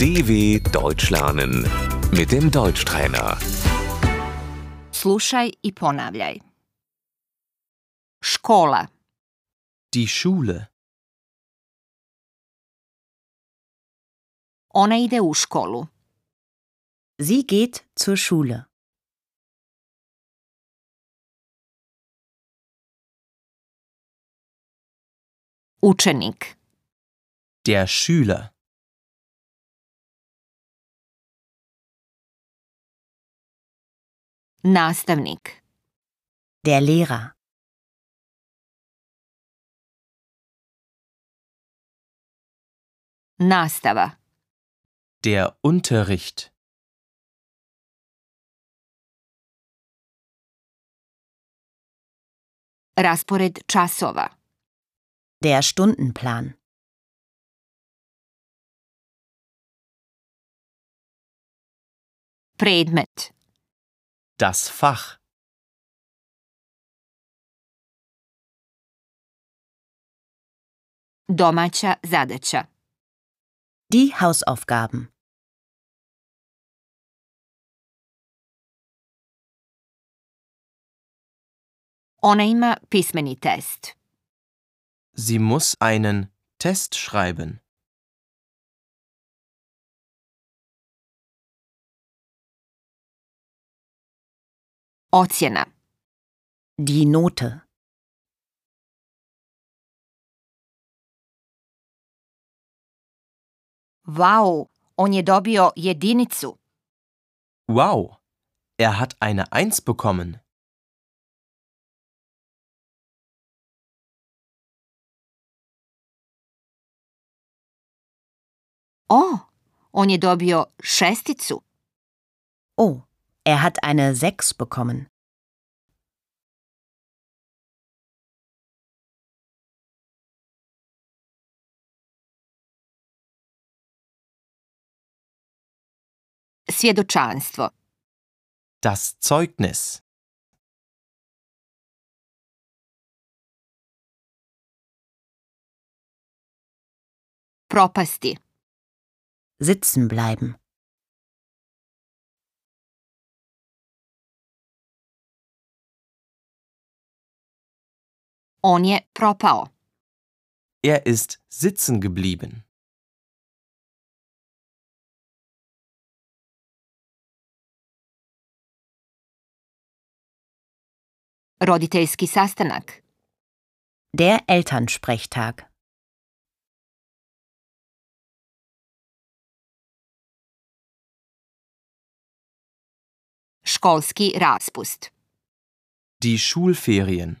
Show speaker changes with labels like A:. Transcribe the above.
A: DW Deutsch lernen mit dem Deutschtrainer.
B: Slušaj i ponavljaj. Škola,
C: Die Schule.
B: ona ide u školu.
D: Sie geht zur Schule.
B: Učenik,
C: Der Schüler.
B: nastavnik,
D: Der Lehrer.
B: nastava,
C: Der Unterricht.
B: raspored časova,
D: Der Stundenplan.
B: predmet,
C: Das Fach.
B: domaća zadaća,
D: Die Hausaufgaben.
B: ona ima pismeni test.
C: Sie muss einen Test schreiben.
B: Ocjena,
D: Die Note.
B: vau, on je dobio jedinicu.
C: Wow. Er hat eine Eins bekommen.
B: O, on je dobio šesticu.
D: Oh, er hat eine 6 bekommen.
B: Svjedočanstvo,
C: Das Zeugnis.
B: propasti,
D: Sitzen bleiben.
B: on je propao.
C: Er ist sitzen geblieben.
B: Roditeljski sastanak,
D: Der Elternsprechtag.
B: školski raspust.
C: Die Schulferien.